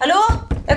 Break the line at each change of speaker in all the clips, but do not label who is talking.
Hallo? Jeg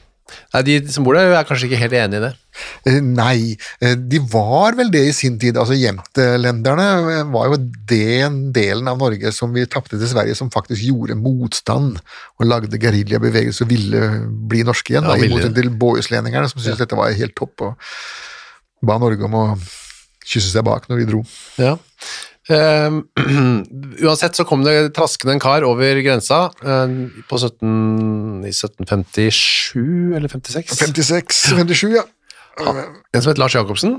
Nei, de som bor der er kanskje ikke helt enig i det.
Eh, Nei, eh, de var vel det i sin tid. Altså Jemtelenderne eh, var jo den delen av Norge som vi tapte til Sverige, som faktisk gjorde motstand og lagde geriljabevegelser og ville bli norske igjen.
Ja,
da, I
ville
motsetning til Båhuslendingerne, som syntes dette var helt topp, og ba Norge om å kysse seg bak når vi dro.
Ja. Ehm, uansett så kom det traskende en kar over grensa eh, på 17, i 1757 eller 56.
56-57, ja.
En som het Lars Jacobsen.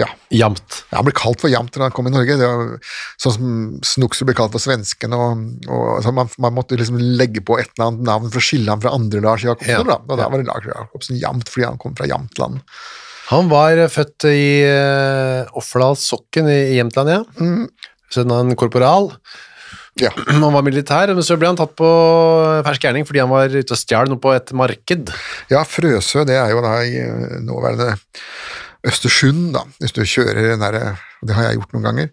ja.
Jamt.
Ja, Han ble kalt for Jamter da han kom i Norge. Det var sånn som Snukser ble kalt for svenskene. Og, og, så man, man måtte liksom legge på et eller annet navn for å skille ham fra andre Lars Jacobsen.
Ja,
Da. Og da var det Lars Jacobsen Jamt fordi han kom fra Jamtland.
Han var eh, født i uh, Offerdalssokken i i Jämtland, ja. Sønn av en korporal.
Ja.
Han var militær, men så ble han tatt på fersk gjerning fordi han var ute og stjal noe på et marked.
ja, Frøsø det er jo da i eh, nåværende Østersund, da. Hvis du kjører den derre, og det har jeg gjort noen ganger,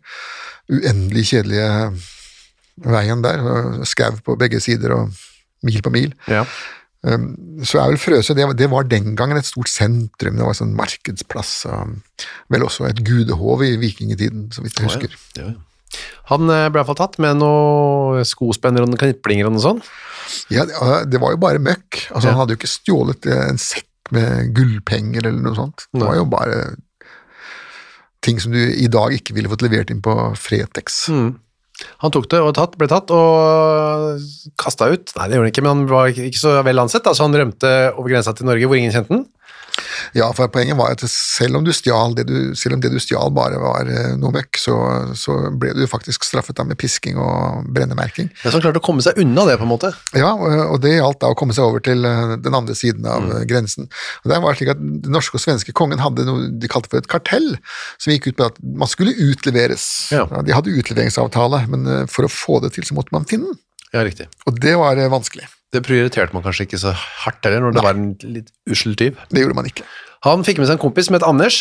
uendelig kjedelige veien der. og Skau på begge sider og mil på mil. så er vel Frøsø det, det var den gangen et stort sentrum, det var en sånn markedsplass, og vel også et gudehov i vikingetiden, så vidt jeg husker.
Han eh, ble iallfall tatt med noen skospenner og noen kniplinger og noe sånt.
Ja, det, det var jo bare møkk, altså
Ja.
han hadde jo ikke stjålet eh, en sekk med gullpenger eller noe sånt, det var jo bare ting som du i dag ikke ville fått levert inn på Fretex.
Mm. Han tok det og tatt, ble tatt og kasta ut. Nei, det gjorde han ikke, men han var ikke ikke så vel ansett, da, så han rømte over grensa til Norge, hvor ingen kjente han.
Ja, for poenget var at selv om du stjal det du, selv om det du stjal bare var eh, noe møkk, så, så ble du faktisk straffet da med pisking og brennemerking.
Men så han klarte å komme seg unna det, på en måte.
Ja, og og det gjaldt da å komme seg over til eh, den andre siden av
Mm.
eh, grensen. Og der var det slik at Den norske og svenske kongen hadde noe de kalte for et kartell, som gikk ut på at man skulle utleveres.
Ja.
de hadde utleveringsavtale, men eh, for å få det til så måtte man finne den,
Ja, riktig.
og det var eh, vanskelig.
Det prioriterte man kanskje ikke så hardt heller, når det var en litt ussel tyv.
Det gjorde man ikke.
Han fikk med seg en kompis som het Anders.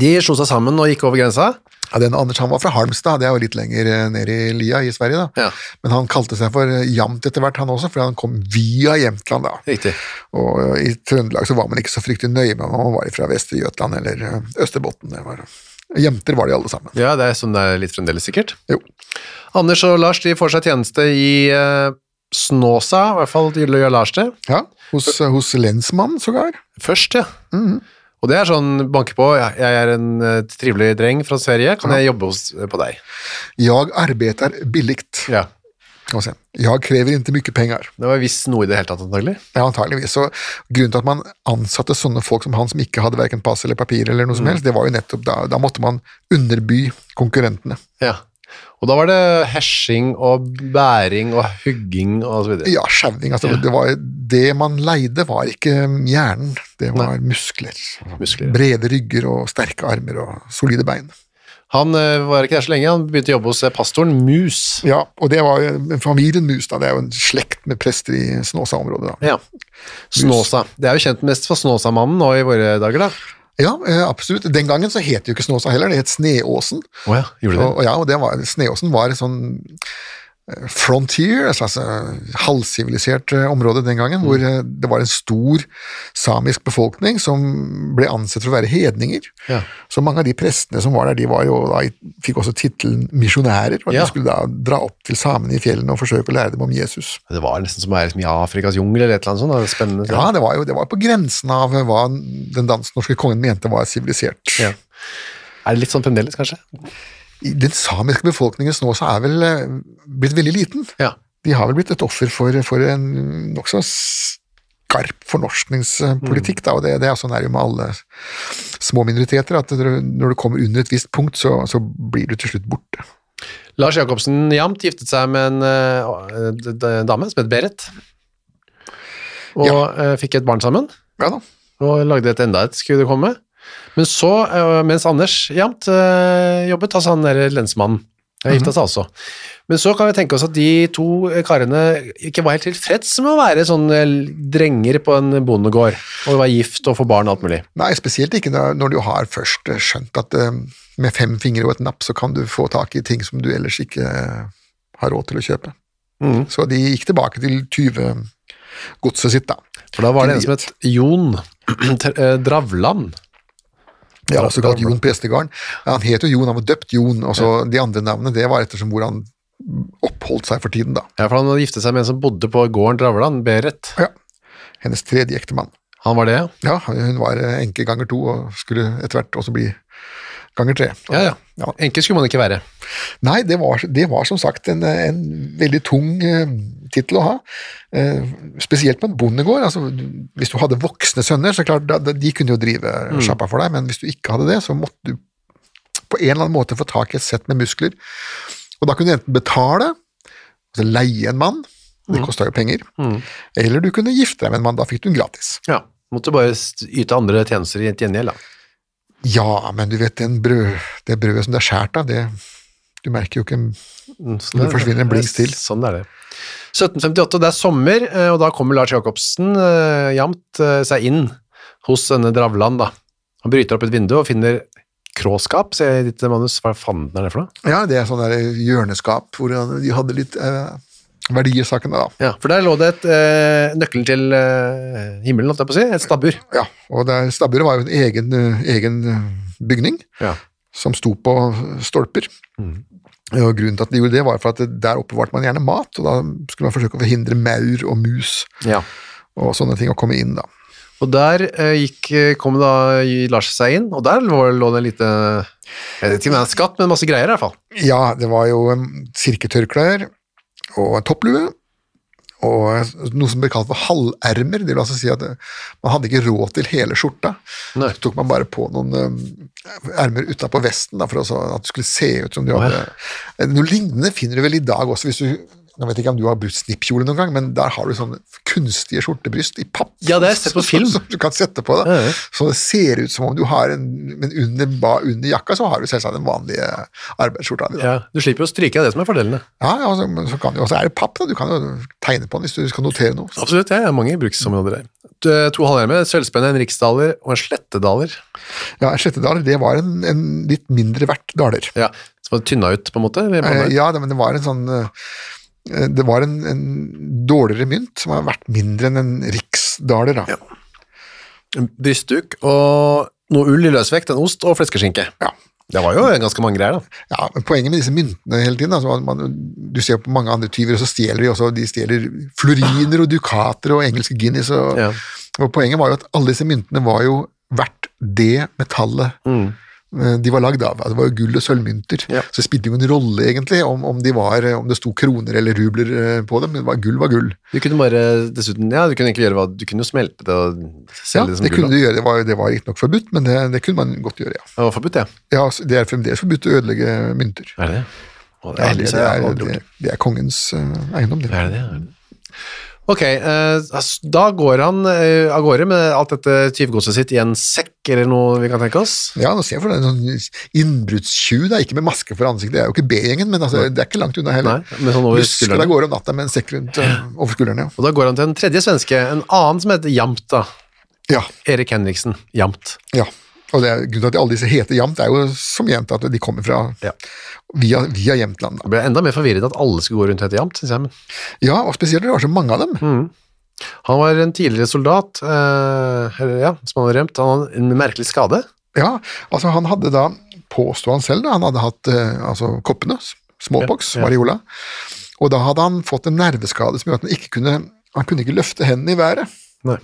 De slo seg sammen og gikk over grensa.
Ja, den Anders han var fra Halmstad, det er jo litt lenger eh, ned i lia i Sverige, da.
Ja.
men han kalte seg for eh, Jamt etter hvert, han også, for han kom via Jämtland. da.
Riktig.
Og eh, i Trøndelag så var man ikke så fryktelig nøye med om man var fra Vestre Jøtland eller eh, Østerbotten. Det var, jenter var de alle sammen.
Ja, det er sånn det er litt fremdeles sikkert.
Jo.
Anders og Lars de får seg tjeneste i eh, Snåsa, i hvert fall gjør Lars det.
Ja, hos, hos lensmannen sågar.
Først, ja. Og det er sånn, banke på, ja, jeg er en eh, trivelig eh, dreng fra Sverige, kan jeg jobbe hos, på deg?
Jag arbetar billigt.
Ja.
Skal vi se. Jag kräver inte mycket pengar.
Det var visst noe i det hele tatt, antagelig.
Ja, antageligvis. Så grunnen til at man ansatte sånne folk som han, som ikke hadde verken pass eller papir eller noe som helst, det var jo nettopp da, da måtte man underby konkurrentene.
Ja. Og da var det hesjing og bæring og hugging og så videre.
Ja, skjeving. Altså, det, var, det man leide, var ikke hjernen, det var muskler.
Muskler, ja.
Brede rygger og sterke armer og solide bein.
Han eh, var ikke der så lenge, han begynte å jobbe hos eh, pastoren Mus.
Ja, og det var jo familien Mus, da. Det er jo en slekt med prester i Snåsa-området, da.
Ja. Snåsa. Det er jo kjent mest for Snåsamannen nå i våre dager, da.
Ja, eh, absolutt. Den gangen så het det jo ikke Snåsa heller, det het Sneåsen.
Å ja, gjorde
Og, og ja, og det var, Sneåsen var et sånn eh, frontier, et slags eh, halvsivilisert eh, område den gangen, hvor
Mm.
eh, det var en stor samisk befolkning som ble ansett for å være hedninger.
Ja.
Så mange av de prestene som var der, de var jo da, i- fikk også tittelen misjonærer, og
Ja.
de skulle da dra opp til samene i fjellene og forsøke å lære dem om Jesus.
Det var nesten som å være liksom, i Afrikas jungel eller et eller annet sånt. da. Det er Spennende.
Ja, det var jo det var på grensen av eh, hva den dansk-norske kongen mente var sivilisert.
Ja. Er det litt sånn fremdeles, kanskje?
I Den samiske befolkningen nå så er vel eh, blitt veldig liten.
Ja.
De har vel blitt et offer for, for en nokså skarp fornorskningspolitikk, da, og det, det er sånn er det jo med alle små minoriteter, at når du- når du kommer under et visst punkt, så, så blir du til slutt borte.
Lars Jacobsen Jamt giftet seg med en eh, d- d- dame som het Berit. Og
Ja.
eh, fikk et barn sammen,
Ja da.
og lagde et enda et, skulle det komme. Men så, eh, mens Anders Jamt eh, jobbet, altså han der lensmannen, han gifta seg også. Men så kan vi tenke oss at de to eh, karene ikke var helt tilfreds med å være sånne drenger på en bondegård, og være gift og få barn og alt mulig.
Nei, spesielt ikke når når du har først eh, skjønt at eh, med fem fingre og et napp så kan du få tak i ting som du ellers ikke eh, har råd til å kjøpe. Så de gikk tilbake til 20-godset sitt, da.
For da var det en som
Drit.
het Jon Tr- eh, Dravland.
Ja, også kalt
da-
Jon Prestegarden. Ja, Han het jo Jon, han var døpt Jon, og så de andre navnene, det var ettersom hvor han oppholdt seg for tiden, da.
Ja, for han hadde giftet seg med en som bodde på gården Dravland, Berit.
Ja. Hennes tredje ektemann.
Han var det,
Ja, hun var eh, enke ganger to, og skulle etter hvert også bli ganger tre.
ja. ja, ja.
Ja.
Enke skulle man ikke være.
Nei, det var, det var som sagt en, en veldig tung eh, tittel å ha. Eh, spesielt på en bondegård. Altså, du- hvis du hadde voksne sønner, så klart, da, da, de kunne jo drive sjappa for deg, men hvis du ikke hadde det, så måtte du på en eller annen måte få tak i et sett med muskler. Og da kunne du enten betale, altså leie en mann, det kosta jo penger, eller du kunne gifte deg med en mann, da fikk du den gratis.
Ja. Måtte bare st- yte andre tjenester i et gjengjeld, da.
Ja, men du vet, den brød, det brødet som det er skåret av, det Du merker jo ikke
Sånn
Nå
er
forsvinner en blings til.
Sånn er det. 1758, det er sommer, eh, og da kommer Lars Jacobsen eh, jamt eh, seg inn hos denne Dravland, da. Han bryter opp et vindu og finner kråskap, ser jeg i ditt manus. Hva fanden er det for noe?
Ja, det er sånn der hjørneskap hvor de hadde litt eh, verdier sakene, da.
Ja, for der lå det et eh, nøkkelen til eh, himmelen, holdt jeg på å si. Et stabbur.
Ja, og der- stabburet var jo en egen, eh, egen eh, bygning
Ja.
som sto på eh, stolper. Og grunnen til at de gjorde det, var for at der oppbevarte man gjerne mat, og da skulle man forsøke å forhindre maur og mus
Ja.
og sånne ting å komme inn, da.
Og der eh, gikk, eh, kom da Lars seg inn, og der lå, lå det en lite Jeg vet ikke om det er en skatt, men masse greier i hvert fall.
Ja, det var jo um, sirketørklær og en topplue. Og noe som ble kalt for halvermer. Det vil altså si at eh, man hadde ikke råd til hele skjorta.
Nei.
Så tok man bare på noen um, ermer utapå vesten da, for å så- at det skulle se ut som du hadde Eh, Noe lignende finner du vel i dag også, hvis du nå vet jeg ikke om du har brukt snippkjole noen gang, men der har du sånne kunstige skjortebryst i papp.
Ja, det har jeg sett på film.
Som, du kan sette på
Ja, ja.
deg. Så det ser ut som om du har en Men under, ba- under jakka så har du selvsagt den vanlige arbeidsskjorta di. da.
Ja, du slipper jo å stryke, det er det som er fordelene.
Ja, ja, så, men så kan du, og så er det papp, da. Du kan jo tegne på den hvis du skal notere noe.
Absolutt, jeg har mange bruksområder der. To, to halvhjermer, et sølvspenne, en riksdaler og en slettedaler.
Ja, Slettedaler, det var en, en litt mindre verdt daler.
Ja, Som var tynna ut, på en måte? eller på en
Eh,
måte.
Ja, det, men det var en sånn eh, Det var en, en dårligere mynt som har vært mindre enn en riksdaler, da. Ja.
En Brystduk og noe ull i løsvekt, en ost og fleskeskinke.
Ja.
Det var jo ganske mange greier, da.
men Poenget med disse myntene hele tiden altså, man, Du ser på mange andre tyver, og så stjeler de også. De stjeler floriner og dukater og engelske Guinness. Og,
Ja.
og poenget var jo at alle disse myntene var jo verdt det metallet eh, de var lagd av. Altså, Det var jo gull og sølvmynter,
Mm. Ja.
så det spilte jo ingen rolle egentlig om, om, de var, eh, om det sto kroner eller rubler eh, på dem, men det var, gull var gull.
Du kunne bare dessuten, ja, du kunne egentlig gjøre hva, du kunne jo smelte det og
Ja,
selge det som
det
gull.
kunne
da.
du gjøre, det var, det var riktignok forbudt, men det, det kunne man godt gjøre, ja.
Det var forbudt, ja.
ja. så Det er fremdeles forbudt å ødelegge mynter.
Er det det? Å,
Det er,
aldri-
det
jeg har
er,
aldri gjort
det, det er kongens eh, eiendom, det.
Er det det? Er det det? Ok, eh, altså, da går han eh, av gårde med alt dette tyvgodset sitt i en sekk, eller noe vi kan tenke oss.
Ja, nå ser jeg for deg en sånn innbruddstjuv, da, ikke med maske for ansiktet, det er jo ikke B-gjengen, men altså, det er ikke langt unna heller.
Nei, men sånn over
Husker
skuldrene.
deg går om natta med en sekk rundt eh, over skulderen, ja.
Og da går han til en tredje svenske, en annen som heter Jamt da.
Ja,
Erik Henriksen, Jamt.
ja. Og det er, grunnen til at alle disse heter Jamt, er jo som jevnt at de kommer fra
Ja.
via, via Jämtland.
Da
Da.
ble jeg enda mer forvirret at alle skulle gå rundt og hete Jamt, synes jeg. Men
Ja, og spesielt det var så mange av dem.
Mm. han var en tidligere soldat, eh, eller, ja, som han hadde rømt. Han hadde en merkelig skade.
Ja, altså han hadde da, påstod han selv da, han hadde hatt eh, altså, koppene, s- smallpox,
Ja, ja.
variola, og da hadde han fått en nerveskade som gjorde at han ikke kunne, han kunne ikke løfte hendene i været.
Nei.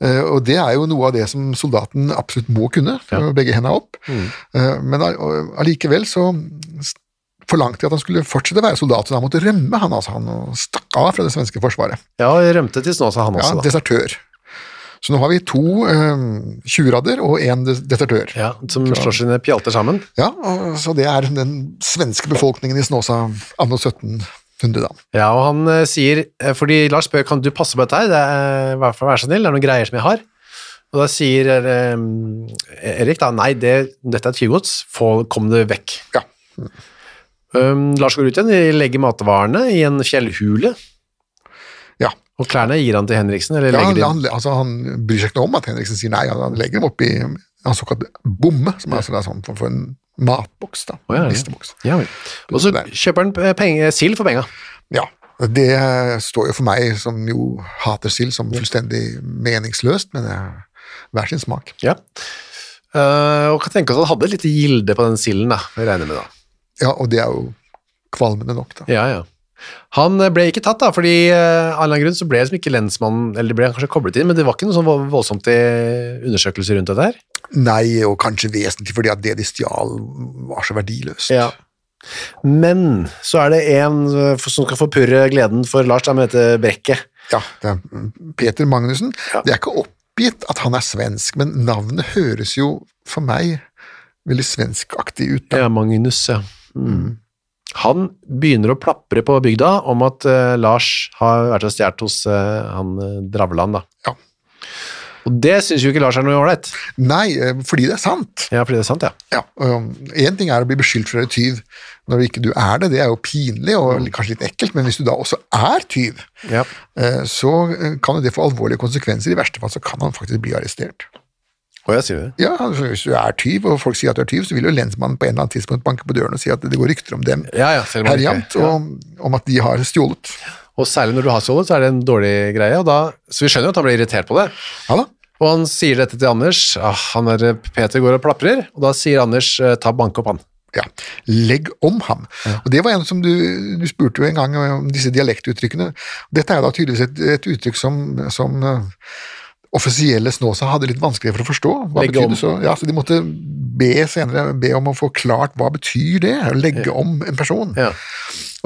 Eh, Og det er jo noe av det som soldaten absolutt må kunne,
Ja. Mm.
begge hendene opp. Eh, Men all- og allikevel så s- forlangte de at han skulle fortsette å være soldat, så han måtte rømme, han altså. Han stakk av fra det svenske forsvaret.
Ja, og rømte til Snåsa han
Ja,
også da.
desertør. Så nå har vi to eh, tjuvradder og én des- desertør.
Ja, som slår sine pjalter sammen.
Ja, og- Så det er den svenske befolkningen i Snåsa anno 1700, da.
Ja, og han eh, sier, eh, fordi Lars spør, kan du passe på dette her? Det er, eh, vær, vær så snill, det er noen greier som jeg har. Og da sier eh, Erik da, nei, det, dette er tyvgods, Få- kom det vekk.
Ja.
Um, Lars går ut igjen, de legger matvarene i en fjellhule,
ja.
og klærne gir han til Henriksen, eller
Ja,
legger
han,
de-
han, altså, han bryr seg ikke noe om at Henriksen sier nei, han, han legger dem oppi en såkalt bomme, som er altså da sånn for, for en matboks, da.
Å, ja, ja.
en listeboks.
Ja, vel. Og så kjøper han eh, penge, sild for penga.
Ja, det står jo for meg, som jo hater sild, som fullstendig meningsløst, men det er hver sin smak.
Ja. Eh, og kan tenke oss at han hadde et lite gilde på den silden, da, vi regner med da.
Ja, og det er jo kvalmende nok, da.
Ja, ja. Han eh, ble ikke tatt da, fordi eh, av en eller annen grunn så ble liksom ikke lensmannen, eller det ble han kanskje koblet inn, men det var ikke noe sånn vo- voldsomt i undersøkelser rundt dette her.
Nei, og kanskje vesentlig fordi at det de stjal var så verdiløst.
Men så er det en eh, som skal forpurre gleden for Lars, da, med dette brekket.
Ja, det er Peter Magnussen. Det er ikke oppgitt at han er svensk, men navnet høres jo for meg veldig svenskaktig ut.
Ja, Magnus, ja. Mm. Han begynner å plapre på bygda om at eh, Lars har vært og stjålet hos eh, han eh, Dravland, da.
Ja.
Og det syns jo ikke Lars er noe ålreit.
Nei, eh, fordi det er sant.
Ja, fordi det er sant, ja.
Ja, Én ting er å bli beskyldt for å være tyv når ikke du er det, det er jo pinlig og kanskje litt ekkelt, men hvis du da også er tyv,
ja.
eh, så eh, kan jo det få alvorlige konsekvenser. I verste fall så kan han faktisk bli arrestert.
Og jeg sier det.
Ja, altså, Hvis du er tyv, og folk sier at du er tyv, så vil jo lensmannen på en eller annen tidspunkt banke på døren og si at det går rykter om dem
Ja, ja, selv om
her
han
i
ikke-
amt, og om at de har stjålet.
Og særlig når du har stjålet, så er det en dårlig greie. Og da, så vi skjønner jo at han blir irritert på det.
Ja da.
Og han sier dette til Anders. Ah, han der Peter går og plaprer, og da sier Anders eh, ta bank opp han.
Ja, legg om ham. Og Det var en som du, du spurte jo en gang om disse dialektuttrykkene. Dette er da tydeligvis et, et uttrykk som, som eh, offisielle Snåsa hadde litt vanskelig for å forstå. Hva
Legge
betyr
om.
det så? Ja, så de måtte be senere be om å få klart hva betyr det, å legge om en person.
Ja.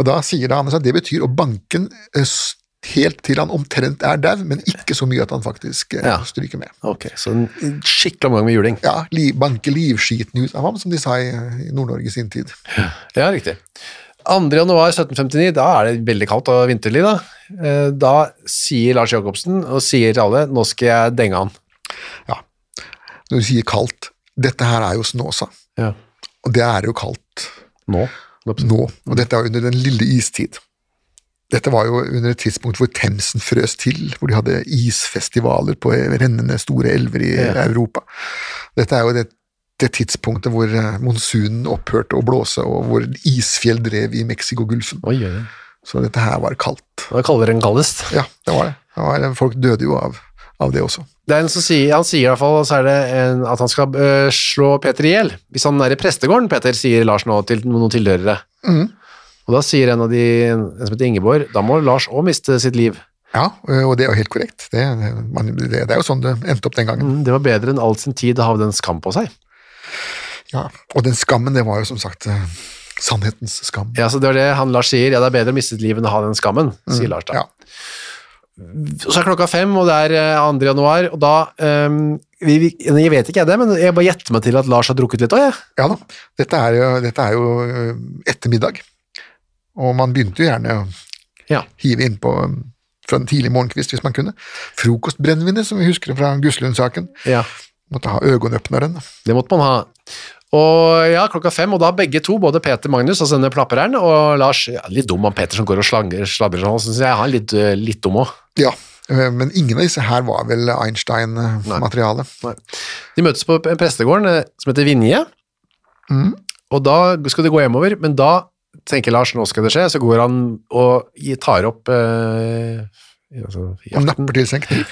Og da sier da Anders at det betyr å banke den eh, s- helt til han omtrent er dau, men ikke så mye at han faktisk eh,
Ja.
stryker med.
Ok, så en skikkelig omgang med juling.
Ja, li, banke livskiten ut av ham, som de sa i, i Nord-Norge i sin tid.
Ja, riktig. 2. januar 1759, da er det veldig kaldt og vinterlig da. Eh, Da sier Lars Jacobsen, og sier til alle, nå skal jeg denge han.
når du sier kaldt Dette her er jo Snåsa,
Ja.
og det er jo kaldt
Nå?
nå. Og dette er jo under den lille istid. Dette var jo under et tidspunkt hvor Themsen frøs til, hvor de hadde isfestivaler på rennende store elver i
Ja.
Europa. Dette er jo det, det tidspunktet hvor eh, monsunen opphørte å blåse, og hvor isfjell drev i Mexicogolfen.
Oi, oi, oi.
Så dette her var kaldt.
Da kaller den kaldest.
Ja, det var det. det var, folk døde jo av, av det også.
Det er en som sier, han sier i hvert fall så er det en, at han skal øh, slå Peter ihjel. Hvis han er i prestegården, Peter, sier Lars nå til noen tilhørere. Og da sier en av de, en som heter Ingeborg, da må Lars også miste sitt liv.
Ja, og det er jo helt korrekt. Det, man, det, det er jo sånn det endte opp den gangen.
Mm, Det var bedre enn all sin tid å ha den skam på seg.
Ja, og den skammen, det var jo som sagt eh, sannhetens skam.
Ja, så det var det han Lars sier. Ja, det er bedre å miste et liv enn å ha den skammen, sier Lars da.
Ja.
Og så er klokka fem, og det er eh, 2. januar, og da ehm, vi, vi, Jeg vet ikke jeg det, men jeg bare gjetter meg til at Lars har drukket litt òg, jeg.
Ja da, dette er jo, dette er jo eh, ettermiddag, og man begynte jo gjerne å
Ja.
hive innpå um, fra en tidlig morgenkvist hvis man kunne. Frokostbrennevinet, som vi husker fra Guslund-saken.
Ja.
Måtte ha øyeåpneren.
Det måtte man ha. Og ja, klokka fem, og da begge to, både Peter Magnus, altså denne plappereren, og Lars ja, Litt dum av Peter som går og slanger, slabrer sånn, syns jeg. Han er litt, eh, litt dum òg.
Ja, eh, men ingen av disse her var vel eh, Einstein-materiale.
De møtes på prestegården eh, som heter Vinje,
Mm.
og da skal de gå hjemover, men da tenker Lars nå skal det skje, så går han og gi- tar opp eh, altså,
Og
jakten,
napper til seg en kniv.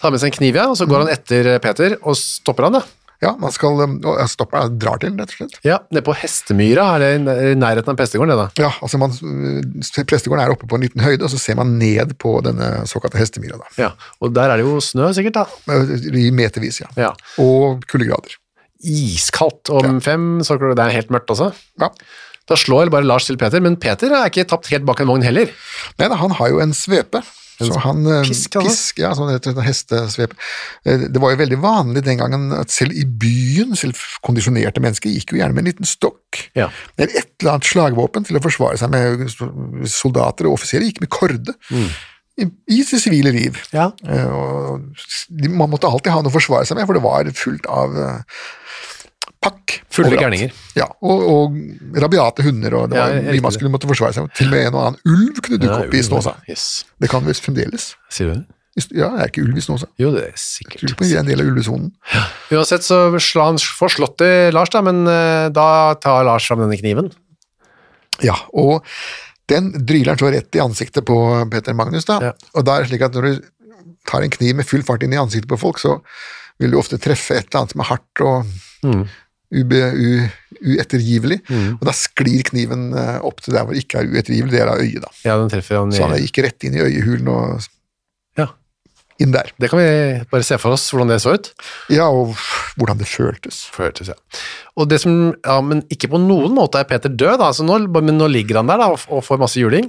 tar med seg en kniv, ja, og så går han etter eh, Peter og stopper han, da.
Ja, man skal um, og jeg stopper, jeg drar til, rett og slett.
Ja, nede på Hestemyra, er det i nær- i nærheten av prestegården, det da.
Ja, altså man, øh, Prestegården er oppe på en liten høyde, og så ser man ned på denne såkalte hestemyra. da.
Ja, og der er det jo snø sikkert, da.
Øh, I metervis, ja.
Ja.
Og kuldegrader.
iskaldt om fem, så klart- det er helt mørkt også.
Ja.
Da slår bare Lars til Peter, men Peter er ikke tapt helt bak en vogn heller.
Nei da, han har jo en svepe. Så han, øh,
pisk, altså?
pisk, ja, sånn som det heter, en hestesvepe. Eh, Det var jo veldig vanlig den gangen at selv i byen, selv kondisjonerte mennesker, gikk jo gjerne med en liten stokk.
Ja.
Eller et eller annet slagvåpen til å forsvare seg med soldater og offiserer, gikk med korde. I, I sitt sivile liv.
Mm. Ja.
Eh, og de- man måtte alltid ha noe å forsvare seg med, for det var fullt av eh, pakk.
Fulle
overalt.
gærninger.
Ja, og, og rabiate hunder, og det
Ja,
var
jeg- jeg
mye man
likte
skulle måtte forsvare seg mot. Til og med en og annen ulv kunne dukke opp i Snåsa.
Yes.
Det kan visst fremdeles.
Sier du det?
I St- Ja, er ikke ulv i Snåsa?
Jo, det er
Jeg
sikkert.
Tror på det er en del av ulvesonen.
Uansett så slår han får slått i Lars da, men eh, da tar Lars fram denne kniven.
Ja, og den dryler så rett i ansiktet på Peter Magnus, da.
Ja.
Og da er det slik at når du tar en kniv med full fart inn i ansiktet på folk, så vil du ofte treffe et eller annet som er hardt og ube, u, uettergivelig. Og da sklir kniven eh, opp til der hvor det ikke er uettergivelig, det er av øyet, da.
Ja, den treffer han
Så han
i...
gikk rett inn i øyehulen og
Ja.
inn der.
Det kan vi bare se for oss hvordan det så ut.
Ja, og hvordan det føltes.
Føltes, ja. Og det som, ja, men ikke på noen måte er Peter død da, så nå, men nå ligger han der da og og får masse juling.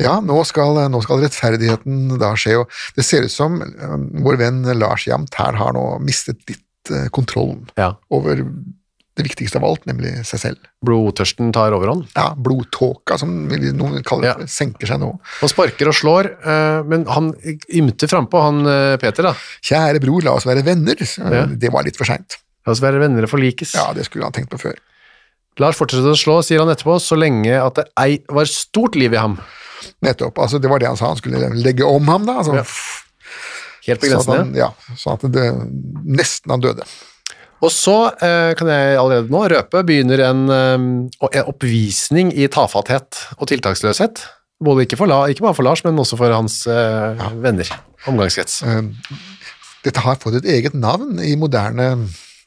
Ja, nå skal, nå skal rettferdigheten da skje, og det ser ut som eh, vår venn Lars Jamt her har nå mistet litt eh, kontrollen
Ja.
over det viktigste av alt, nemlig seg selv.
Blodtørsten tar overhånd.
Ja, blodtåka, som noen kaller
Ja.
det, senker seg nå.
Han sparker og slår, eh, men han ymter frampå, han eh, Peter, da.
Kjære bror, la oss være venner. Det var litt for seint.
La oss være venner og forlikes.
Ja, det skulle han tenkt på før.
Lars fortsetter å slå, sier han etterpå, så lenge at det ei var stort liv i ham.
Nettopp. altså Det var det han sa, han skulle legge om ham, da. Altså,
Ja, Helt på
sånn, at han,
grensene.
ja, sånn at det nesten han døde.
Og så, eh, kan jeg allerede nå røpe, begynner en, eh, en oppvisning i tafatthet og tiltaksløshet. Både ikke, for La, ikke bare for Lars, men også for hans eh, venner. Omgangskrets.
Ehm, Dette har fått et eget navn i moderne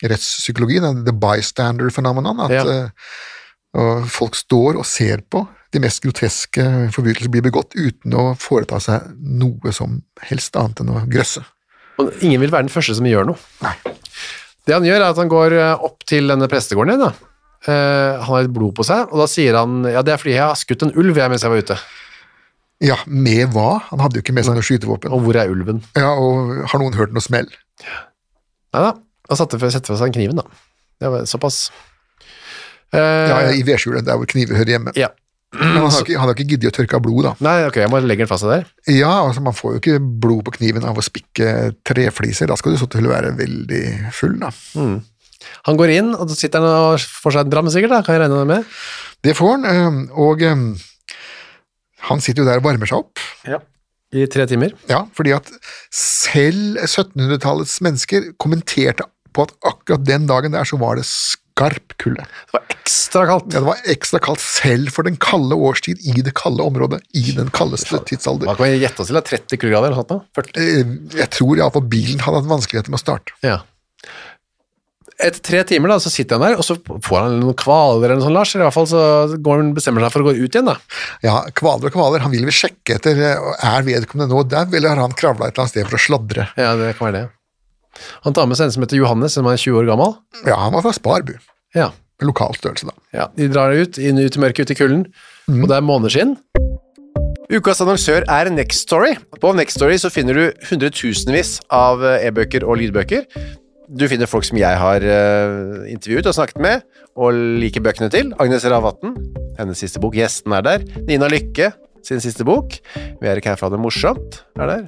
rettspsykologi, det the bystander phenomenon, at
Ja.
eh, og folk står og ser på de mest groteske forbrytelser blir begått uten å foreta seg noe som helst annet enn å grøsse.
Og ingen vil være den første som gjør noe.
Nei.
Det han gjør er at han går eh, opp til denne prestegården igjen, da. Eh, han har litt blod på seg, og da sier han ja, det er fordi jeg har skutt en ulv jeg mens jeg var ute.
Ja, med hva? Han hadde jo ikke med seg noe skytevåpen.
Og hvor er ulven?
Ja, og har noen hørt noe smell?
Nei da, han satte fra- setter fra seg kniven, da. Det var såpass. Eh,
Ja, i vedskjulet, der hvor kniver hører hjemme.
ja.
Men han har ikke, han har ikke giddet å tørke av blod, da.
Nei, ok, jeg må legge den fra seg der.
Ja, altså man får jo ikke blod på kniven av å spikke trefliser, da skal du så til å være veldig full, da.
Han går inn, og så sitter han og får seg en dram, sikkert, da, kan jeg regne med.
Det får han, øhm, og øhm, han sitter jo der og varmer seg opp.
I tre timer.
Ja, fordi at selv 1700-tallets mennesker kommenterte på at akkurat den dagen der så var det skarp kulde.
Det var ekstra kaldt.
Ja, det var ekstra kaldt selv for den kalde årstid i det kalde området, i den kaldeste
Hva
tidsalder.
kan vi gjette oss til? da? 30 kuldegrader eller noe sånt? nå? 40?
Eh, Jeg tror iallfall bilen hadde hatt vanskeligheter med å starte.
Ja. Etter tre timer da, så sitter han der, og så får han noen kvaler eller noe sånt, Lars. Eller i hvert fall så går han, bestemmer seg for å gå ut igjen, da.
Ja, kvaler og kvaler, han ville vel sjekke etter eh, er vedkommende nå dau, eller har han kravla et eller annet sted for å sladre?
Ja, det kan være det. Han tar med seg en som heter Johannes, som er 20 år gammel.
Ja, han var fra Sparbu.
Ja.
Lokal størrelse, da.
Ja, de drar ut, inn ut i mørket, ut i kulden, og det er måneskinn. Ukas annonsør er Next Story. På Next Story så finner du hundretusenvis av eh, e-bøker og lydbøker. Du finner folk som jeg har eh, intervjuet og snakket med, og liker bøkene til. Agnes Ravatn, hennes siste bok. Gjesten er der. Nina Lykke, sin siste bok. Vi er ikke herfra det morsomt, er der.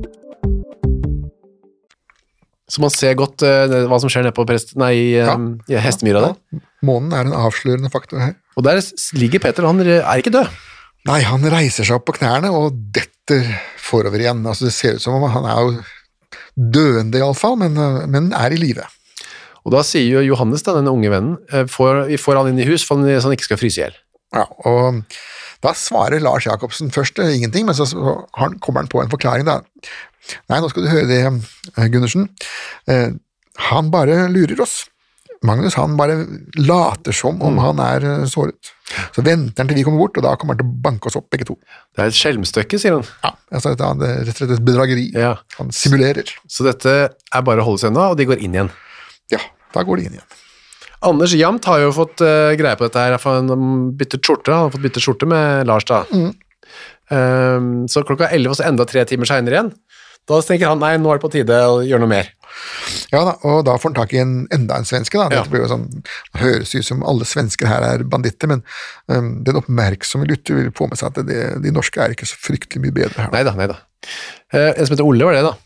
Så man ser godt eh, det- hva som skjer nede på prest, nei, eh,
Ja.
i hestemyra der.
Månen er en avslørende faktor her.
Og der s- ligger Peter, han eh, er ikke død.
Nei, han reiser seg opp på knærne og detter forover igjen. Altså, det ser ut som om han er jo døende, iallfall, men, øh, men er i live.
Og da sier jo Johannes, da, denne unge vennen, eh, får, vi får han inn i hus for han, så han ikke skal fryse i hjel.
Ja, og da svarer Lars Jacobsen først eh, ingenting, men så så har han, kommer han på en forklaring, da. Nei, nå skal du høre det, eh, Gundersen. Eh, han bare lurer oss. Magnus han bare later som om han er eh, såret. Så venter han til vi kommer bort, og da kommer han til å banke oss opp, begge to.
Det er et skjelmstøkke, sier han.
Ja, altså, det er rett og slett et bedrageri.
Ja.
Han simulerer.
Så dette er bare å holde seg unna, og de går inn igjen.
Ja, da går de inn igjen.
Anders Jamt har jo fått eh, greie på dette her, for han har byttet skjorte, han har fått byttet skjorte med Lars da. Ehm, så klokka 11 og så enda tre timer senere igjen, da tenker han, nei, nå er det på tide å gjøre noe mer.
Ja da, Og da får han tak i en, enda en svenske. da.
Ja.
Dette blir jo sånn, høres ut som alle svensker her er banditter, men øhm, den oppmerksomme lytter vil få med seg at det, de norske er ikke så fryktelig mye bedre her.
Neida, neida. Eh, en som heter Olle var det da.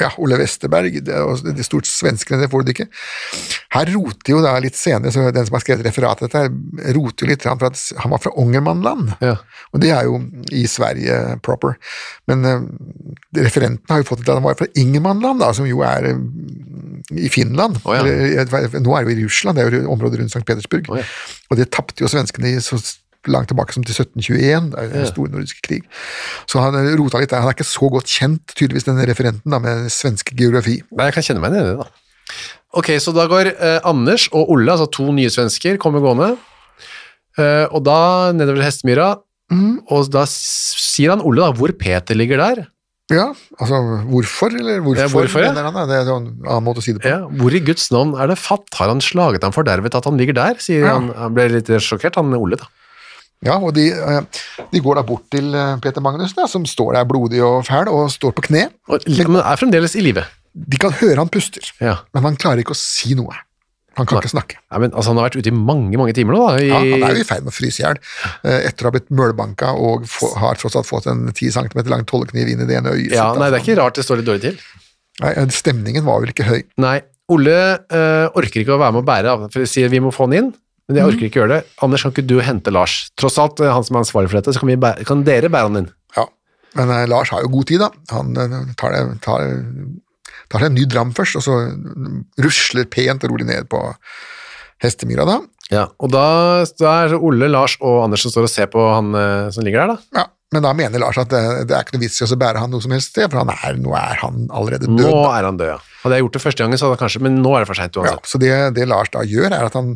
Ja, Ole Westerberg, det, er også- de stort svenskene, det får du ikke. Her roter jo da litt senere, så den som har skrevet referatet dette, her, roter jo litt, grann for at han var fra Ångermanland.
Ja.
Og det er jo i Sverige proper. Men øhm, referenten har jo fått det til at han var fra Ingermanland, da, som jo er øhm, i Finland.
Å, ja.
Eller, eh, jeg vet hva- nå er det jo i Russland, det er jo området rundt St. Petersburg.
Å, ja.
Og det tapte jo svenskene i så langt tilbake som til 1721, det er jo den store nordiske krig. Så han rota litt der. Han er ikke så godt kjent, tydeligvis, denne referenten, da, med svensk geografi.
Nei, jeg kan kjenne meg ned i det da. Ok, så da går eh, Anders og Olle, altså to nye svensker, kommer gående, Eh, og da nedover til Hestemyra, Mm, og da s- sier han Olle da, hvor Peter ligger der,
Ja, altså hvorfor, eller hvorfor,
Ja, hvorfor, ja.
mener han da? Det er en sånn annen måte å si det på.
Ja, hvor i Guds navn er det fatt? Har han slaget ham fordervet at han ligger der? Sier
Ja.
han, han ble litt sjokkert, han Ole da.
Ja, og de, eh, de går da bort til eh, Peter Magnus, da, som står der blodig og fæl, og står på kne.
Og, men er fremdeles i livet.
De kan høre han puster,
Ja.
men han klarer ikke å si noe. Han kan
Nei.
ikke snakke.
Nei, men altså, han har vært ute i mange, mange timer nå da. I,
Ja, han er jo i ferd med å fryse i hjel eh, etter å ha blitt mølbanka og få, har tross alt fått en 10 cm lang tollekniv inn i det ene øyet.
Ja,
sitt,
nei, det er
altså.
ikke rart det står litt dårlig til.
Nei, eh, Stemningen var vel ikke høy.
Nei, Ole eh, orker ikke å være med og bære, da, for de sier vi må få han inn, men jeg orker ikke gjøre det. Anders, kan ikke du hente Lars? Tross alt, eh, han som er ansvarlig for dette, så kan, vi bære, kan dere bære han inn.
Ja. Men eh, Lars har jo god tid, da. Han eh, tar, det, tar, tar seg en ny dram først, og så rusler pent og rolig ned på hestemyra, da.
Ja, og da, da er det Ole, Lars og Anders som står og ser på han eh, som ligger der da.
Ja, men da mener Lars at det, det er ikke noe vits i å så bære han noe som helst sted, for han er, nå er han allerede
Nå
død.
er han død, ja. Hadde jeg gjort det første gangen, så hadde han kanskje, men nå er det for sent
Ja,
uansett.
så det, det Lars da gjør, er at han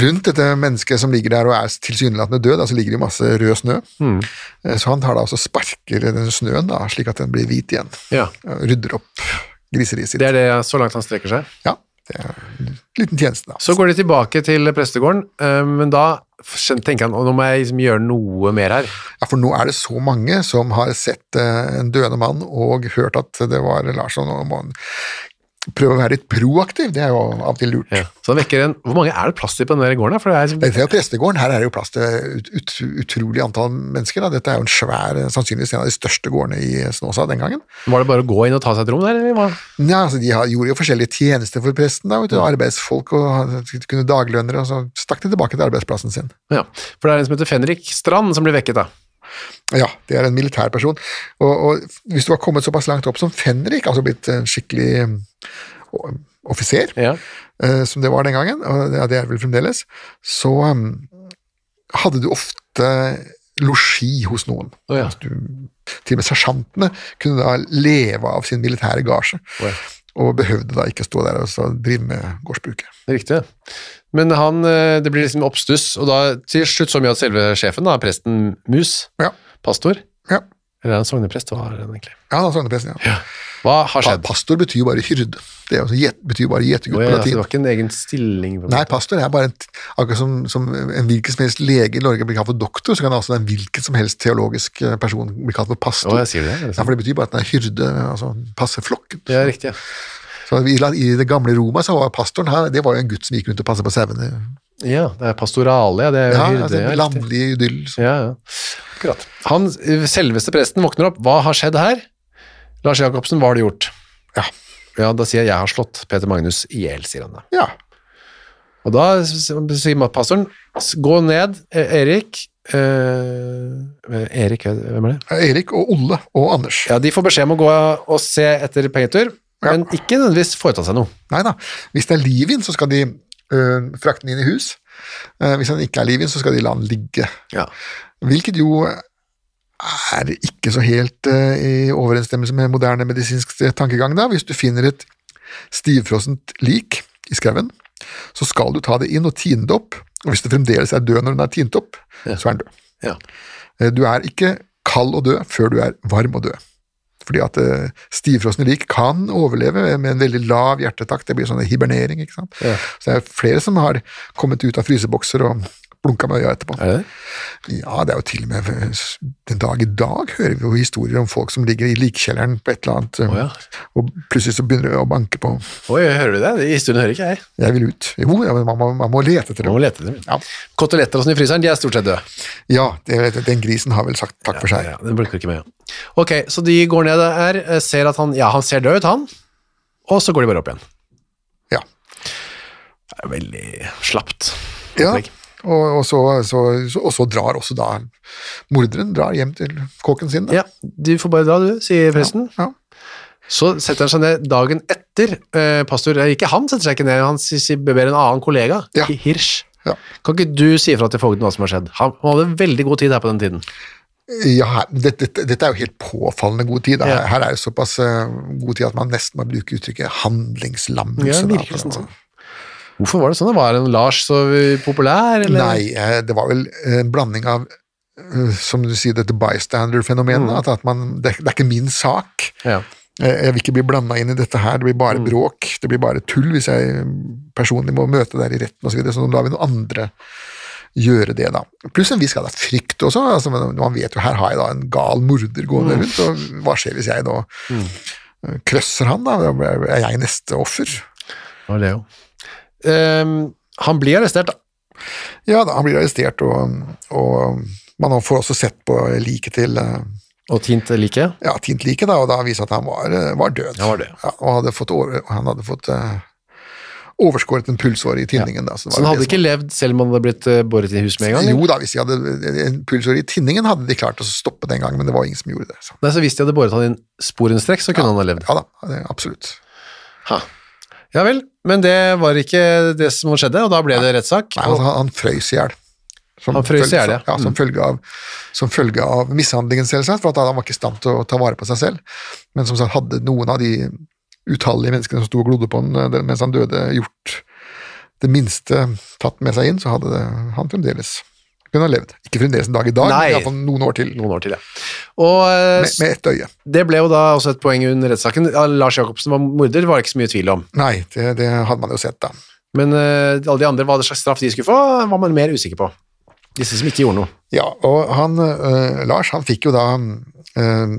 rundt dette mennesket som ligger der og er tilsynelatende død, altså ligger det jo masse rød snø,
Mm.
Eh, så han tar da også sparker den snøen da, slik at den blir hvit igjen.
Ja.
Ja, Rydder opp griseriet sitt.
Det er det så langt han strekker seg.
Ja, det er en liten tjeneste da.
Så går de tilbake til prestegården, eh, men da skjøn- tenker han «Å, nå må jeg liksom gjøre noe mer her.
Ja, for nå er det så mange som har sett eh, en døende mann og hørt at det var Lars og nå må han prøve å være litt proaktiv, det er jo av og til lurt.
Ja. Så han vekker en Hvor mange er det plass til på den der gården? da? For det er, liksom,
Dette er jo prestegården, her er det jo plass til ut, ut, utrolig antall mennesker. Da. Dette er jo en svær, eh, sannsynligvis en av de største gårdene i Snåsa den gangen.
var det bare å gå inn og ta seg et rom der? Eller? hva?
Ja, altså De har, gjorde jo forskjellige tjenester for presten, da, vet du, arbeidsfolk og kunne daglønnere, og så stakk de tilbake til arbeidsplassen sin.
Ja. For det er en som heter Fenrik Strand som blir vekket, da.
Ja, det er en militær person. Og, og hvis du har kommet såpass langt opp som Fenrik, altså blitt en skikkelig eh, o- offiser,
Ja.
eh, som det var den gangen, og det- ja, det er det vel fremdeles, så um, hadde du ofte losji hos noen.
Å, ja.
Altså, du, til og med sersjantene kunne da leve av sin militære gasje,
Å, ja.
og behøvde da ikke stå der og så drive med gårdsbruket.
Det er riktig. det. Men han, eh, det blir liksom oppstuss, og da til slutt så mye at selve sjefen, da, presten Mus,
Ja.
pastor
Ja,
Eller er han sogneprest? Hva er han egentlig?
ja da sognepresten, ja.
Hva har
Pa-
skjedd?
Pastor betyr jo bare hyrde. Det er jo så gjet- betyr jo bare
Å,
gjetegutt på
ja, så det
latin.
var ikke en egen stilling? på en
Nei,
måte.
pastor er bare en, t- akkurat som, som en hvilken som helst lege i Norge blir kalt for doktor, så kan altså en hvilken som helst teologisk eh, person bli kalt for pastor.
Å, jeg sier det, er det
ja,
sant?
for det betyr bare at den er hyrde, altså passer flokken.
Ja, riktig. ja.
Så i, la- I det gamle Roma så var pastoren her, det var jo en gutt som gikk rundt og passet på sauene.
Ja, det er pastorale, ja, det er jo
Ja,
hyrde.
altså,
ja,
en
riktig.
landlig idyll. Så.
Ja, ja. Akkurat. Han, eh, selveste presten våkner opp. Hva har skjedd her? Lars Jacobsen, hva har du gjort?
Ja.
Ja, da sier jeg jeg har slått Peter Magnus i hjel, sier han da.
Ja.
Og da s- s- sier pastoren, "S- gå ned, eh, Erik. Eh, Erik, hvem er det?
Erik og Olle og Anders.
Ja, de får beskjed om å gå og se etter pengetur,
Ja.
men ikke nødvendigvis foreta seg noe.
Nei da. Hvis det er liv i den, så skal de øh, frakte den inn i hus. Eh, hvis den ikke er liv i den, så skal de la den ligge.
Ja.
Hvilket jo er ikke så helt eh, i overensstemmelse med moderne medisinsk tankegang. da. Hvis du finner et stivfrossent lik i skauen, så skal du ta det inn og tine det opp. Og hvis det fremdeles er død når den er tint opp, så er den død.
Ja.
Eh, Du er ikke kald og død før du er varm og død. Fordi at eh, stivfrosne lik kan overleve med en veldig lav hjertetakt. Det blir sånn hibernering. ikke sant?
Ja.
Så det er flere som har kommet ut av frysebokser og blunka med øya etterpå.
Er det det?
Ja, det er jo til og med eh, den dag i dag hører vi jo historier om folk som ligger i likkjelleren på et eller annet, eh,
Å, ja.
og plutselig så begynner det å banke på.
Oi, hører du det? I stunden hører ikke jeg.
Jeg vil ut. Jo, ja, men man må, man må lete etter
Man
dem.
må lete etter dem.
Ja.
Koteletter og sånn i fryseren, de er stort sett døde.
Ja, det, den grisen har vel sagt takk for seg.
Ja, den blinker ikke med, ja. Ok, så de går ned der, eh, ser at han, ja, han ser død ut, han, og så går de bare opp igjen.
Ja.
Det er veldig slappt.
Ja,
opplegg.
og, og, så, så, så, og så drar også da morderen drar hjem til kåken sin. Da.
Ja, du får bare dra, du, sier presten.
Ja.
Så setter han seg ned dagen etter, eh, pastor, eh, ikke han setter seg ikke ned, han si- si- ber en annen kollega,
Ja.
Hi- Hirsch.
Ja.
Kan ikke du si ifra til fogden hva som har skjedd? Han han hadde veldig god tid her på den tiden.
Ja, her- dette, dette, dette er jo helt påfallende god tid. Da.
Ja.
Her er jo såpass eh, god tid at man nesten må bruke uttrykket handlingslammelse.
Ja, det
da,
virker
for å-
nesten sånn. Hvorfor var det sånn? da? Var en Lars så eh, populær? Eller?
Nei, eh, det var vel en blanding av eh, som du sier, dette bystander-fenomenet. At, at man, det, er- det er ikke min sak.
Ja.
Eh, Jeg vil ikke bli blanda inn i dette her, det blir bare bråk, det blir bare tull hvis jeg mm, personlig må møte der i retten osv., så, videre, så nå lar vi noen andre gjøre det, da. Pluss en viss grad av frykt også. Altså, men man vet jo her har jeg da en gal morder gående rundt, og hva skjer hvis jeg nå eh, krøsser han, da? Da Er jeg neste offer?
Og Leo. Ehm, han blir arrestert, da.
Ja da, han blir arrestert, og, og man får også sett på liket til eh,
Og tint like.
ja, tint liket, da, og da viser det at han var, eh, var død.
Han var død.
Ja, og hadde fått over, han hadde fått eh, overskåret en pulsåre i tinningen. Da, det
Så han
var
hadde
det
ikke
som-
levd selv om han hadde blitt eh, båret i hus med en gang? eller?
Jo da, hvis de hadde en pulsåre i tinningen, hadde de klart å stoppe den gangen, men det var ingen som gjorde det. Så.
Nei, så Hvis de hadde båret han inn sporenstreks, så kunne han ha levd.
Ja da, det- absolutt.
Ja vel, men det var ikke det som skjedde, og da ble det rettssak.
Nei,
og-
altså, han, han frøys i hjel. Som
Han frøys
følge-
i hjel, ja.
ja. Som,
Mm.
følge av, som følge av mishandlingen, selvsagt, for at han var ikke i stand til å ta vare på seg selv. Men som sagt, hadde noen av de utallige menneskene som sto og glodde på han eh, mens han døde, gjort det minste tatt med seg inn, så hadde det, han fremdeles kunne ha levd. Ikke fremdeles en dag i dag,
Nei.
men iallfall noen år til.
Noen år til, ja. Og eh,
Med, med ett øye.
det ble jo da også et poeng under rettssaken. Ja, Lars Jacobsen var morder, var det ikke så mye tvil om.
Nei, det, det hadde man jo sett, da.
Men eh, alle de andre, hva slags straff de skulle få, var man mer usikker på. Disse som ikke gjorde noe.
Ja, og han, eh, Lars han fikk jo da eh,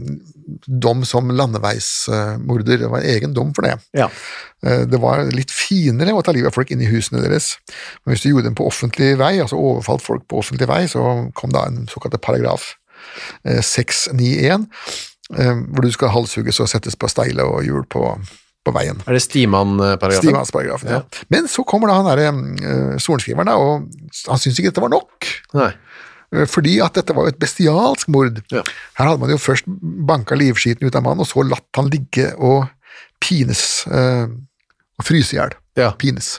dom som landeveismorder. Det var en egen dom for det.
Ja.
Eh, Det var litt finere å ta livet av folk inne i husene deres, men hvis du gjorde dem på offentlig vei, altså overfalt folk på offentlig vei, så kom da en såkalt paragraf eh, 691, eh, hvor du skal halshugges og settes på steile og hjul på, på veien.
Er det Stiman-paragrafen?
Stigmannsparagrafen, ja. Men så kommer da han derre eh, sorenskriveren, da, og han syns ikke dette var nok.
Nei.
eh, Fordi at dette var jo et bestialsk mord.
Ja.
Her hadde man jo først banka livskiten ut av mannen, og så latt han ligge og pines. eh, og fryse i hjel.
Ja.
Pines.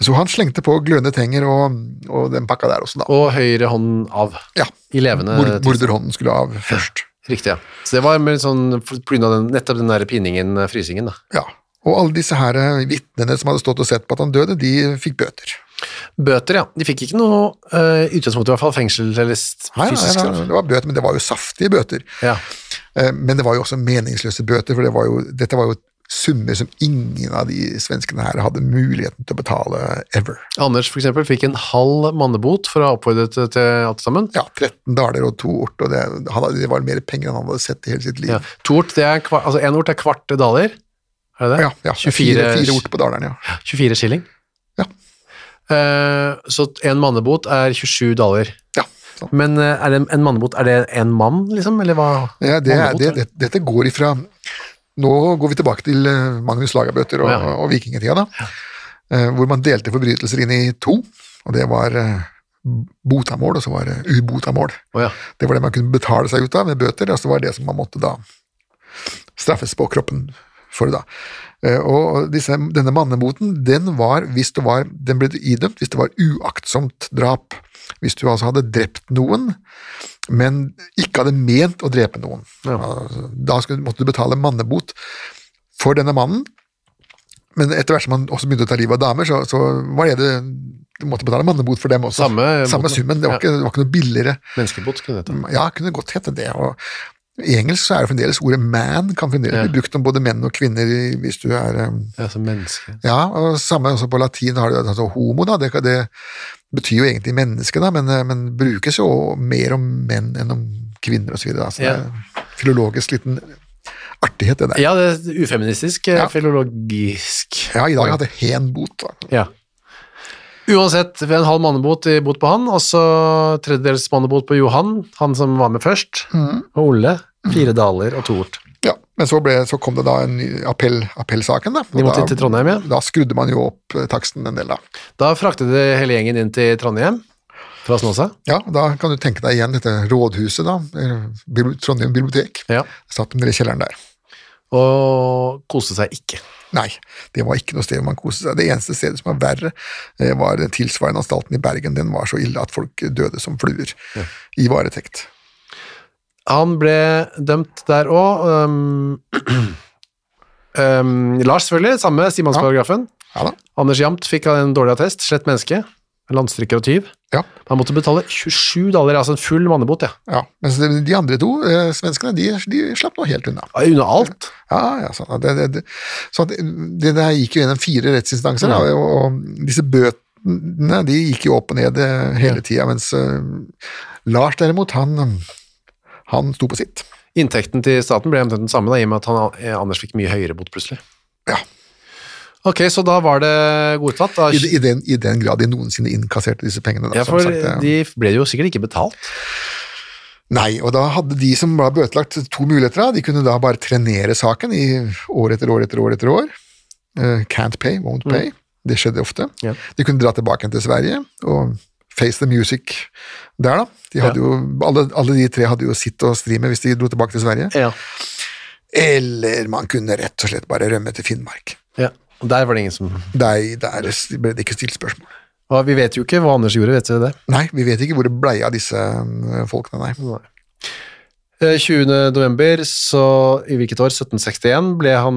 Så han slengte på glødende tenger og, og den pakka der også, da.
Og høyre hånd av.
Ja.
I levende
Mord,
tilstand.
morderhånden skulle av først.
Riktig, ja. Så det var med sånn, på grunn av den, nettopp den der piningen, eh, frysingen, da.
Ja. Og alle disse her eh, vitnene som hadde stått og sett på at han døde, de fikk bøter.
Bøter, ja. De fikk ikke noe eh, i utgangspunktet, i hvert fall fengsel eller s-
Nei, nei,
fysisk
nei,
straff.
det var bøter, men det var jo saftige bøter.
Ja.
Eh, Men det var jo også meningsløse bøter, for det var jo, dette var jo summer som ingen av de svenskene her hadde muligheten til å betale ever.
Anders for eksempel fikk en halv mannebot for å ha oppfordret til til alt sammen.
Ja, 13 daler og to ort, og det, han hadde, det var mer penger enn han hadde sett i hele sitt liv.
Ja. Tort, det er kva, altså en ort er kvarte daler. Er det det?
Ja, ja,
24,
fire, fire ort på Daleren, ja.
24 skilling.
Ja.
Eh, så en mannebot er 27 daler.
ja. sånn.
Men eh, er det en mannebot, er det en mann, liksom? Eller hva?
Ja, det, er-
Mannebot,
det,
eller?
det, dette går ifra Nå går vi tilbake til eh, Magnus Lagabøter
Å,
og,
ja.
og vikingtida, da. Eh, Hvor man delte forbrytelser inn i to, og det var eh, botamål, og så var det ubotamål.
Å, ja.
Det var det man kunne betale seg ut av med bøter, og så var det som man måtte da straffes på kroppen for da. Eh, Og disse, denne manneboten, den var, hvis det var, den ble idømt hvis det var uaktsomt drap. Hvis du altså hadde drept noen, men ikke hadde ment å drepe noen. Altså, Da skulle, måtte du betale mannebot for denne mannen, men etter hvert som han også begynte å ta livet av damer, så, så var det det du måtte betale mannebot for dem også.
Samme boten.
summen, det
Ja.
var, ikke, det var ikke noe billigere.
Menneskebot kunne det hete.
Ja, kunne godt hete det. Og I engelsk så er det fremdeles ordet 'man' kan fremdeles
Ja.
bli brukt om både menn og kvinner i- hvis du er um,
Ja, som menneske.
Ja, og samme også på latin har du altså homo, da. Det, kan- det betyr jo egentlig menneske, da, men, eh, men brukes jo mer om menn enn om kvinner osv. Så, videre, da. så
Ja.
det er filologisk liten artighet, det der.
Ja, det er ufeministisk, eh,
Ja.
filologisk.
Ja, i dag hadde hen bot. Da.
Ja. Uansett, ved en halv mannebot i bot på han, og så tredjedels mannebot på Johan, han som var med først, og Olle, fire daler og to ort.
Ja, men så, ble, så kom det da en ny appell, appellsaken, da.
De måtte
da,
til Trondheim, ja.
Da skrudde man jo opp eh, taksten en del, da.
Da fraktet de hele gjengen inn til Trondheim, fra Snåsa.
Ja, da kan du tenke deg igjen dette rådhuset, da. eh, bibli- Trondheim bibliotek.
Ja.
Satt med dere i kjelleren der.
Og koste seg ikke.
Nei, det var ikke noe sted man koste seg. Det eneste stedet som var verre, eh, var den tilsvarende anstalten i Bergen. Den var så ille at folk døde som fluer i varetekt.
Han ble dømt der òg. Um, um, Lars, selvfølgelig. Samme Simansparagrafen.
Ja da.
Anders Jamt fikk en dårlig attest. Slett menneske. Landstrykker og tyv.
Ja,
Han måtte betale 27 daler, altså en full mannebot, ja.
ja. Mens de de andre to, eh, svenskene, de, de slapp nå helt unna.
Unna alt.
Ja, ja, sånn. at Det, det, det, så at det der gikk jo gjennom fire rettsinstanser, da, og, og disse bøtene de gikk jo opp og ned eh, hele tida, mens eh, Lars derimot, han, han sto på sitt.
Inntekten til staten ble omtrent den samme, da, i og med at han, eh, Anders fikk mye høyere bot plutselig.
Ja.
Ok, så da var det godtatt. Da.
I, i, den, I den grad de noensinne innkasserte disse pengene. Da,
Ja,
som
for
sagt, eh.
de ble jo sikkert ikke betalt.
Nei, og da hadde de som var bøtelagt to muligheter, da. de kunne da bare trenere saken i år etter år etter år etter år. Eh, can't pay, won't pay. Det skjedde ofte.
Ja.
De kunne dra tilbake igjen til Sverige og face the music der, da. De hadde jo, alle, alle de tre hadde jo sitt å stri med hvis de dro tilbake til Sverige.
Ja.
Eller man kunne rett og slett bare rømme til Finnmark.
Og der var det ingen som...
Nei, der ble det ikke stilt spørsmål.
Hva- Vi vet jo ikke hva Anders gjorde, vet dere det?
Nei, vi vet ikke hvor det blei av disse eh, folkene, nei.
Eh, 20. november, så i hvilket år? 1761 ble han...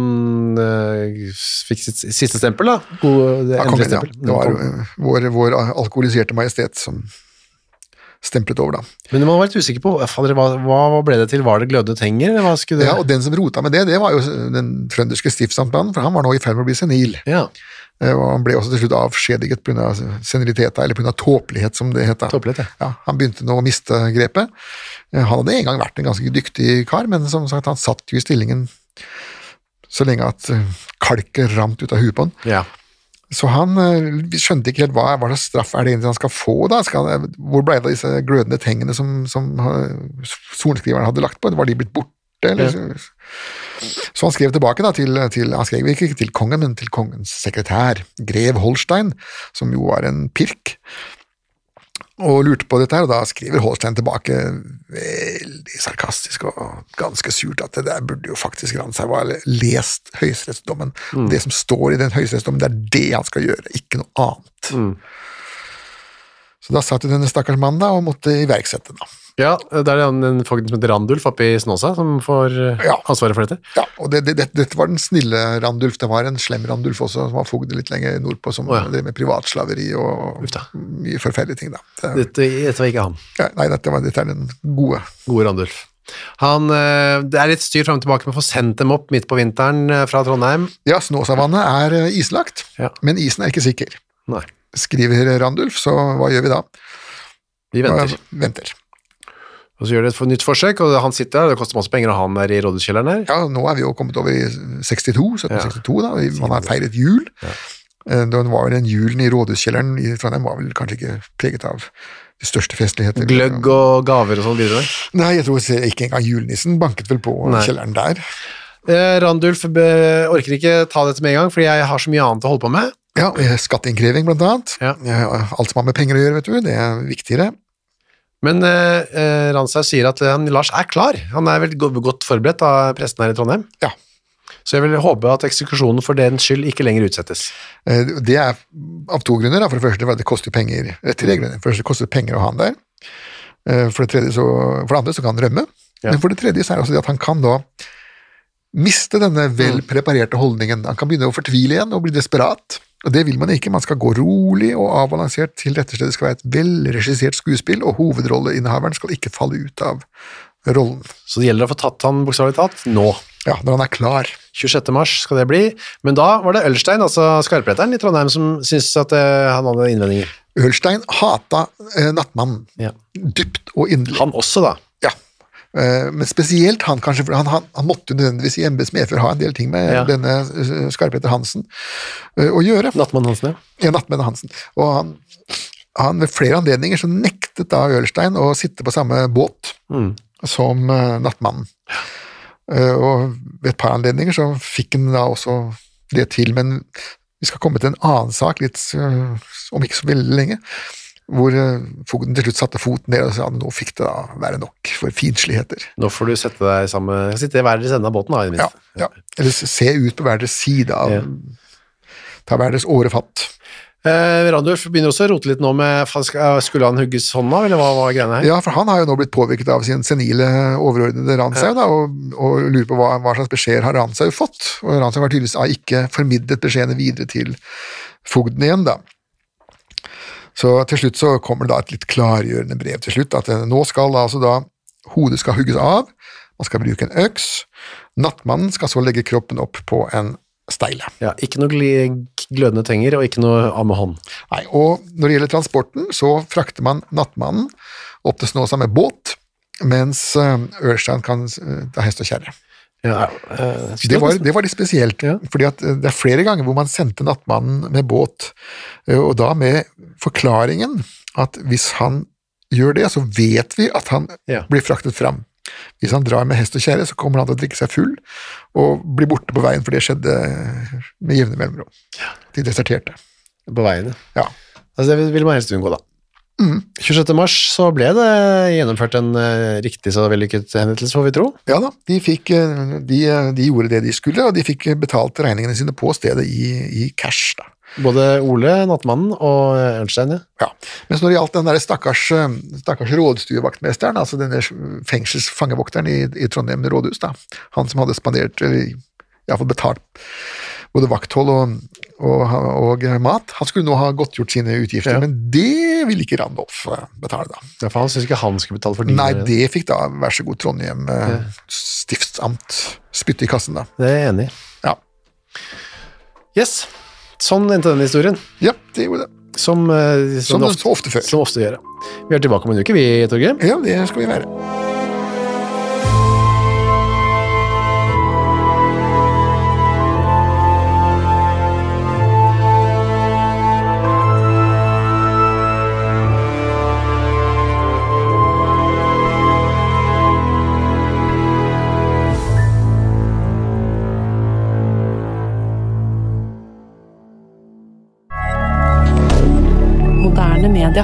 eh, fikk sitt siste stempel, da. God, eh, det endelige
Ja, kongen, ja.
stempel.
Det var eh, vår, vår alkoholiserte majestet som stemplet over, da.
Men man var litt usikker på fader, hva, hva ble det til? Var det glødende tenger? Eller hva skulle det?
Ja, og den som rota med det, det var jo den trønderske stiftsamtmannen, for han var nå i ferd med å bli senil.
Ja,
Eh, Og han ble også til slutt avskjediget pga. senilitet, eller pga. tåpelighet, som det het. da.
Tåpelighet, ja.
ja. Han begynte nå å miste grepet. Eh, Han hadde en gang vært en ganske dyktig kar, men som sagt, han satt jo i stillingen så lenge at eh, kalket rant ut av huet på han.
ja.
Så han eh, vi skjønte ikke helt hva, hva slags straff er det egentlig han skal få, da? Skal han, eh, hvor ble det av disse glødende tengene som, som eh, sorenskriveren hadde lagt på? Var de blitt borte? Eller? Så han skrev tilbake da, til, til Han skrev ikke til kongen, men til kongens sekretær, grev Holstein, som jo var en pirk, og lurte på dette her, og da skriver Holstein tilbake veldig sarkastisk og ganske surt at det der burde jo faktisk Ransheim ha lest høyesterettsdommen.
Mm.
Det som står i den høyesterettsdommen, det er det han skal gjøre, ikke noe annet.
Mm.
Så da satt jo denne stakkars mannen da og måtte iverksette, da.
ja det er den, den fogden som heter Randulf oppe i Snåsa som får eh,
Ja.
ansvaret for dette.
Ja, og det, det, dette- dette var den snille Randulf. Det var en slem Randulf også, som var fogde litt lenger nordpå, som
Å ja.
drev med privatslaveri og
Uff da.
mye forferdelige ting, da. Det,
Dette, dette var ikke han.
ja, nei, dette, var, dette er den gode.
Gode Randulf. Han, eh, det er litt styr frem og tilbake med å få sendt dem opp midt på vinteren eh, fra Trondheim.
Ja, Snåsavannet er eh, islagt,
Ja.
men isen er ikke sikker.
Nei,
Skriver Randulf, så hva gjør vi da?
de venter.
Ja, venter.
Og så gjør de et for- nytt forsøk, og han sitter der, og det koster masse penger, og han er i rådhuskjelleren her.
Ja, nå er vi jo kommet over i 62, 1762 da, og man har feiret jul. Eh, Da var vel den julen i rådhuskjelleren i Trondheim var vel kanskje ikke preget av de største festligheter.
Gløgg og gaver og sånn videre.
Nei, jeg tror se- ikke engang julenissen banket vel på
Nei.
kjelleren der.
Eh, Randulf be, orker ikke ta dette med en gang, fordi jeg har så mye annet å holde på med.
Ja, eh, skatteinnkreving blant annet.
Ja.
Eh, Alt som har med penger å gjøre, vet du, det er viktigere.
Men eh, eh, Ranshaug sier at eh, han, Lars er klar. Han er veldig go- godt forberedt av presten her i Trondheim.
Ja.
Så jeg vil håpe at eksekusjonen for dens skyld ikke lenger utsettes.
Eh, Det er av to grunner. Da. For det første for at det koster penger. eh, Tre grunner. For det første koster det penger å ha han der. Eh, For det, tredje så, for det andre så kan han rømme.
Ja.
Men for det tredje så er det også det at han kan da miste denne
Mm.
vel preparerte holdningen. Han kan begynne å fortvile igjen og bli desperat. Og det vil man ikke. Man skal gå rolig og avbalansert til dette stedet skal være et velregissert skuespill, og hovedrolleinnehaveren skal ikke falle ut av rollen.
Så det gjelder å få tatt han bokstavelig talt nå.
Ja, når han er klar.
26. mars skal det bli. Men da var det Ølstein, altså skarpretteren i Trondheim, som syntes at eh, han hadde innvendinger.
Ølstein hata eh, nattmannen.
Ja.
Dypt og inderlig.
Han også, da.
Ja. Eh, Men spesielt han, kanskje, for han, han, han måtte jo nødvendigvis i embets medfør ha en del ting med
Ja.
denne eh, Skarpeter Hansen eh, å gjøre.
Nattmann Hansen, ja.
Ja, Nattmenn Hansen. Og han, han ved flere anledninger så nektet da Ørstein å sitte på samme båt som eh, Nattmannen. Eh, og ved et par anledninger så fikk han da også det til, men vi skal komme til en annen sak litt eh, om ikke så veldig lenge. Hvor eh, fogden til slutt satte foten ned og sa at nå fikk det da være nok for finsligheter.
Nå får du sette deg sammen Sitte i hver deres ende av båten, da, i det
Ja,
minste.
ja. Eller se ut på hver deres side av
Ja.
Ta hver deres årefatt.
Eh, Randulf begynner også å rote litt nå med fa- sk- eh, Skulle han hugges hånda, eller hva var greiene her?
Ja, for han har jo nå blitt påvirket av sin senile overordnede Ranshaug, da, og, og lurer på hva, hva slags beskjeder har Ranshaug fått. Og Ranshaug har tydeligvis da ikke formidlet beskjedene videre til fogden igjen, da. Så til slutt så kommer det da et litt klargjørende brev til slutt, at eh, nå skal da altså da hodet skal hugges av, man skal bruke en øks, nattmannen skal så legge kroppen opp på en steile.
Ja, ikke noe gli- glødende tenger, og ikke noe av med hånd.
Nei, og når det gjelder transporten, så frakter man nattmannen opp til Snåsa med båt, mens eh, Ørstein kan eh, ta hest og kjerre.
Ja, eh,
Det var, det var litt spesielt,
Ja.
fordi at eh, det er flere ganger hvor man sendte nattmannen med båt, eh, og da med forklaringen at hvis han gjør det, så vet vi at han
Ja.
blir fraktet fram. Hvis han drar med hest og kjerre, så kommer han til å drikke seg full og bli borte på veien, for det skjedde med jevne mellomrom. De deserterte.
på veien. ja.
Ja.
Altså, det ville man helst unngå, da.
Mm.
26. mars så ble det gjennomført en eh, riktig så vellykket henrettelse, får vi tro.
Ja da, de, fikk, eh, de, eh, de gjorde det de skulle, og de fikk eh, betalt regningene sine på stedet i, i cash. da.
Både Ole, nattmannen, og eh, Ørnstein, ja.
Ja. Mens når det gjaldt den der stakkars, eh, stakkars rådstuevaktmesteren, altså denne eh, fengselsfangevokteren i, i Trondheim rådhus, da, han som hadde spandert, eller iallfall betalt både vakthold og, og, og mat. Han skulle nå ha godtgjort sine utgifter,
Ja.
men det ville ikke Randolph eh, betale, da.
Ja, for han synes ikke han skulle betale for dine.
Nei, det fikk da vær så god Trondheim eh, stiftsamt spytte i kassen, da.
Det er jeg enig i.
Ja,
Yes, sånn endte den historien.
ja det gjorde det.
Som, eh,
Som
det
det så ofte før.
som ofte gjør. Vi er tilbake om en uke, vi, Torgeir.
Ja, det skal vi være.
Moderne media.